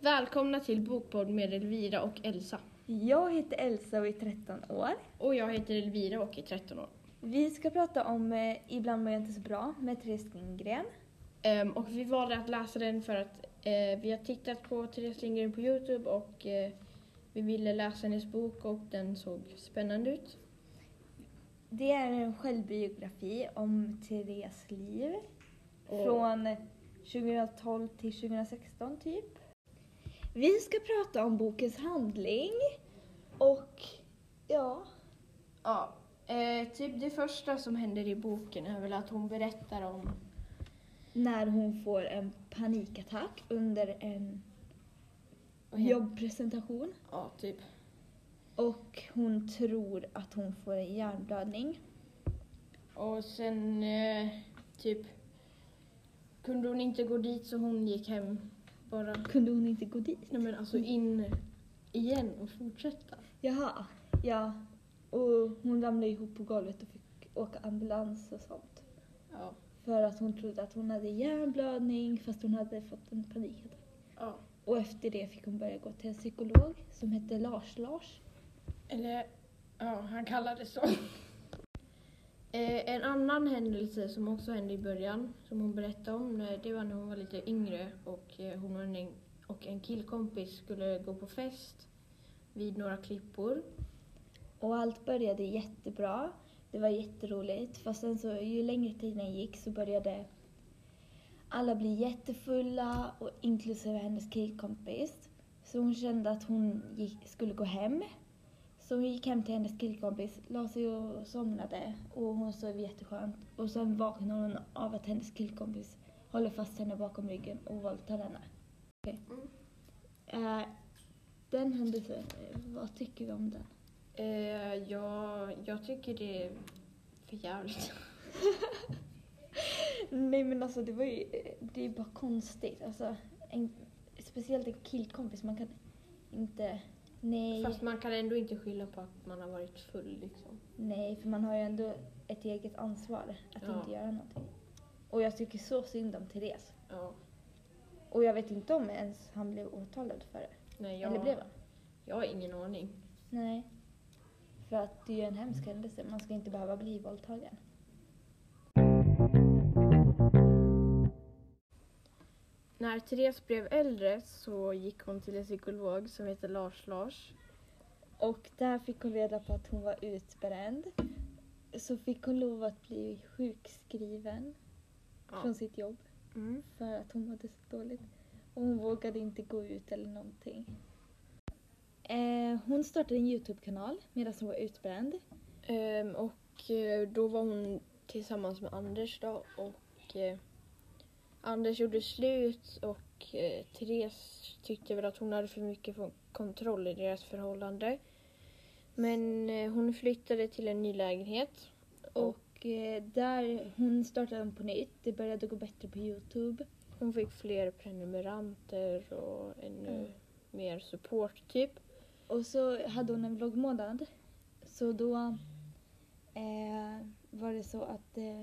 Välkomna till Bokpodd med Elvira och Elsa. Jag heter Elsa och är 13 år. Och jag heter Elvira och är 13 år. Vi ska prata om eh, Ibland mår jag inte så bra med Therese Lindgren. Ehm, och vi valde att läsa den för att eh, vi har tittat på Therese Lindgren på Youtube och eh, vi ville läsa hennes bok och den såg spännande ut. Det är en självbiografi om Therese liv Och- från 2012 till 2016 typ. Vi ska prata om bokens handling och ja, Ja, eh, typ det första som händer i boken är väl att hon berättar om när hon får en panikattack under en vad heter- jobbpresentation Ja, typ. och hon tror att hon får en hjärnblödning. Och sen eh, typ kunde hon inte gå dit så hon gick hem bara. Kunde hon inte gå dit? Nej men alltså in igen och fortsätta. Jaha, ja. Och hon ramlade ihop på golvet och fick åka ambulans och sånt. Ja. För att hon trodde att hon hade hjärnblödning fast hon hade fått en panikattack. ja. Och efter det fick hon börja gå till en psykolog som hette Lars-Lars. Eller ja, han kallades så. eh, en annan händelse som också hände i början som hon berättade om när- det var när hon var lite yngre och eh, hon och en, och en killkompis skulle gå på fest vid några klippor. Och allt började jättebra. Det var jätteroligt. Fast sen så ju längre tiden gick så började alla bli jättefulla och inklusive hennes killkompis. Så hon kände att hon gick, skulle gå hem. Så hon gick hem till hennes killkompis, la sig och somnade och hon sov jätteskönt. Och sen vaknade hon av att hennes killkompis håller fast henne bakom ryggen och våldtar henne. Okej. Eh, den händelsen, eh, vad tycker vi om den? Eh, ja, jag tycker det är för jävligt. Nej men alltså det var ju, det är bara konstigt. Alltså, en, speciellt en killkompis, man kan inte... Nej, Fast man kan ändå inte skylla på att man har varit full liksom. nej, för man har ju ändå ett eget ansvar att Ja. inte göra någonting. Och jag tycker så synd om Therese. Ja. Och jag vet inte om ens han blev åtalad för det. Nej, jag, Eller blev han? Jag har ingen aning. Nej. För att det är ju en hemsk händelse, man ska inte behöva bli våldtagen. När Therese blev äldre så gick hon till en psykolog som heter Lars Lars. Och där fick hon reda på att hon var utbränd. Så fick hon lov att bli sjukskriven från sitt jobb. Mm. för att hon mådde så dåligt. Och hon vågade inte gå ut eller någonting. Eh, hon startade en Youtube-kanal medan hon var utbränd. Ehm, och eh, då var hon tillsammans med Anders då och eh, Anders gjorde slut och eh, Therese tyckte väl att hon hade för mycket fun- kontroll i deras förhållande. Men eh, hon flyttade till en ny lägenhet. Och Och eh, där hon startade den på nytt. Det började gå bättre på Youtube. Hon fick fler prenumeranter och ännu Mm. mer support typ. Och så hade hon en vloggmånad. Så då eh, var det så att eh,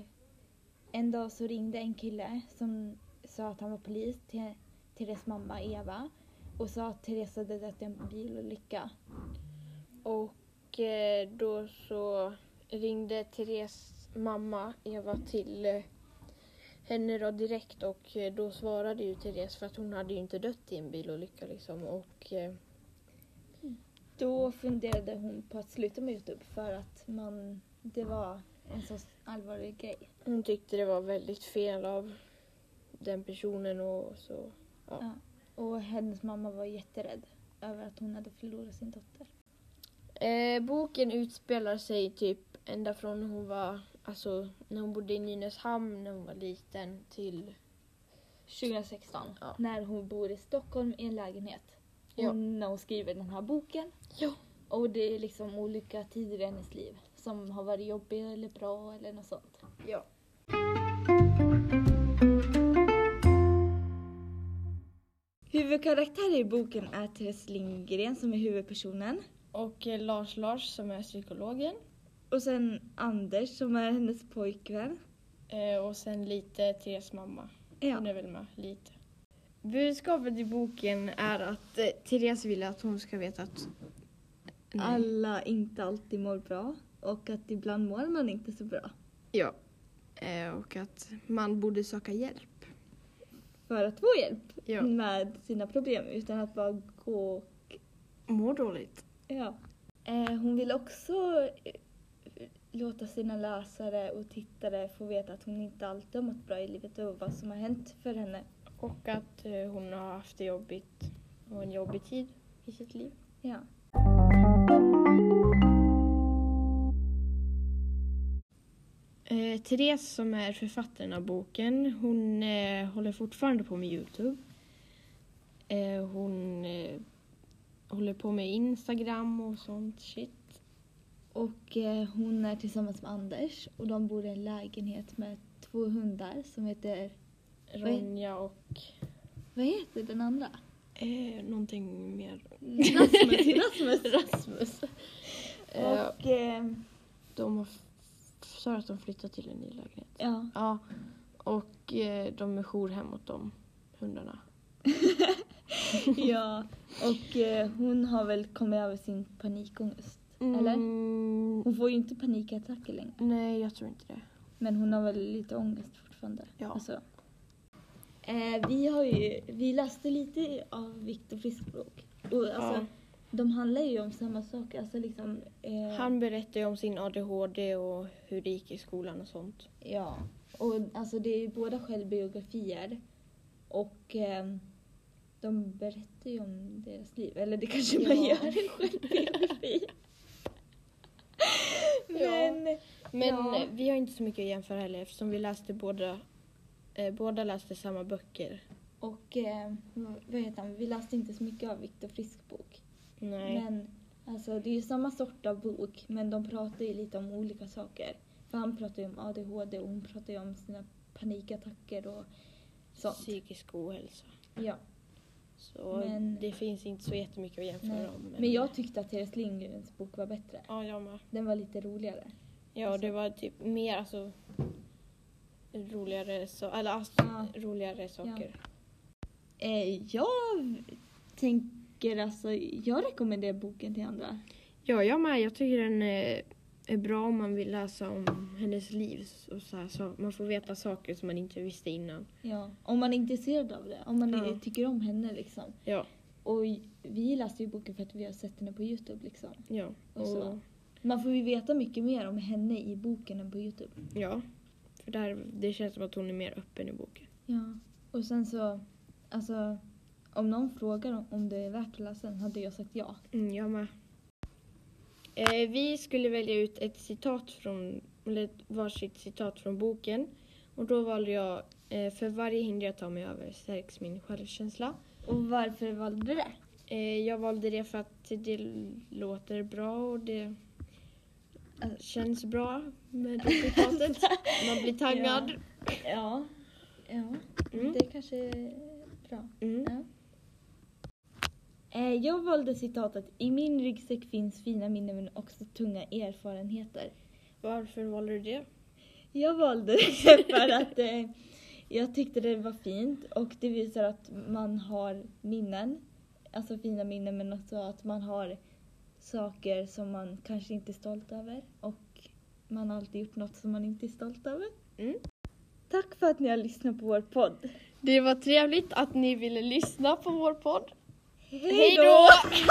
en dag så ringde en kille som sa att han var polis till Therese mamma Eva och sa att Therese hade dött i en bilolycka. Och eh, då så ringde Therese mamma Eva till eh, henne då direkt och eh, då svarade ju Therese för att hon hade ju inte dött i en bilolycka liksom och eh, Då funderade hon på att sluta med Youtube för att man, det var en så allvarlig grej. hon tyckte det var väldigt fel av den personen och så. Ja. Ja. Och hennes mamma var jätterädd över att hon hade förlorat sin dotter. Eh, boken utspelar sig typ ända från hon var, alltså när hon bodde i Nynäshamn när hon var liten till 2016. Ja. När hon bor i Stockholm i en lägenhet. Ja. Och när hon skriver den här boken. Ja. Och det är liksom olika tider i hennes liv som har varit jobbiga eller bra eller något sånt. Ja. Huvudkaraktären i boken är Therese Lindgren som är huvudpersonen. Och eh, Lars Lars som är psykologen. Och sen Anders som är hennes pojkvän. Eh, och sen lite Therese mamma. Ja. Hon är väl med lite. Budskapet i boken är att eh, Therese vill att hon ska veta att Nej. alla inte alltid mår bra och att ibland mår man inte så bra Ja. Eh, och att man borde söka hjälp. för att få hjälp Ja. med sina problem utan att bara gå Mår dåligt. ja. Eh, hon vill också eh, låta sina läsare och tittare få veta att hon inte alltid har mått bra i livet och vad som har hänt för henne. Och att eh, hon har haft det jobbigt och en jobbig tid i sitt liv. Ja. Eh, Therese som är författaren av boken, hon eh, håller fortfarande på med Youtube. Eh, hon eh, håller på med Instagram och sånt shit. Och eh, hon är tillsammans med Anders och de bor i en lägenhet med två hundar som heter, Vad he- Ronja och vad heter den andra? eh, någonting mer. Rasmus, Rasmus. Rasmus. Eh, Och, eh, de har f- sa att de flyttar till en ny lägenhet. ja. Ja, och eh, de är jourhem åt de hundarna. ja. och eh, hon har väl kommit över sin panikångest. Eller? Mm, Hon får ju inte panikattacker längre, nej, jag tror inte det. men hon har väl lite ångest fortfarande. Ja. Alltså. Eh, vi, har ju, vi läste lite av Viktor Frisks bok. Och, alltså, Ja. De handlar ju om samma sak. Alltså, liksom, eh, Han berättar ju om sin ADHD och hur det gick i skolan och sånt. Ja, och alltså det är ju båda självbiografier och ehm, de berättar ju om deras liv. Eller det kanske man Ja. gör i en självbiografi. Men Men Ja. eh, vi har inte så mycket att jämföra heller eftersom vi läste båda, eh, båda läste samma böcker. och ehm, vad- vad heter han? Vi läste inte så mycket av Viktor Frisk bok. Nej. Men alltså det är ju samma sort av bok men de pratar ju lite om olika saker. För han pratar ju om ADHD och hon pratar ju om sina panikattacker och sånt. Psykisk ohälsa. Ja. Så Men- det finns inte så jättemycket att jämföra Nej. om. Men jag tyckte att Therese Lindgrens bok var bättre. Ja, jag med. Den var lite roligare. Ja, det var typ mer alltså roligare, så, eller, alltså, Ja. roligare saker. Eh, jag tänker alltså, jag rekommenderar boken till andra. Ja, jag med. Jag tycker den eh, är bra om man vill läsa om hennes liv. Och så här, så man får veta saker som man inte visste innan. Ja. Om man är intresserad av det. Om man Ja. eh, tycker om henne liksom. Ja, Och j- vi läste ju boken för att vi har sett henne på Youtube liksom. ja. Och så. Man får ju veta mycket mer om henne i boken än på Youtube. ja. För där, det känns som att hon är mer öppen i boken. Ja. Och sen så, alltså. Om någon frågar om- om det är värt att läsa den hade jag sagt ja. Mm, jag med. Eh, vi skulle välja ut ett citat från, eller ett varsitt citat från boken. Och då valde jag, eh, för varje hinder jag tar mig över stärks min självkänsla. Och varför valde du det? Eh, jag valde det för att det låter bra och det eh, känns bra med det citatet. Man blir taggad. Ja. Ja. Mm. Det kanske är bra. Mm. Eh, Jag valde citatet I min ryggsäck finns fina minnen men också tunga erfarenheter. Varför valde du det? Jag valde det för att eh, jag tyckte det var fint och det visar att man har minnen. Alltså fina minnen men också att man har saker som man kanske inte är stolt över och man har alltid gjort något som man inte är stolt över. Mm. Tack för att ni har lyssnat på vår podd. Det var trevligt att ni ville lyssna på vår podd. Hej då!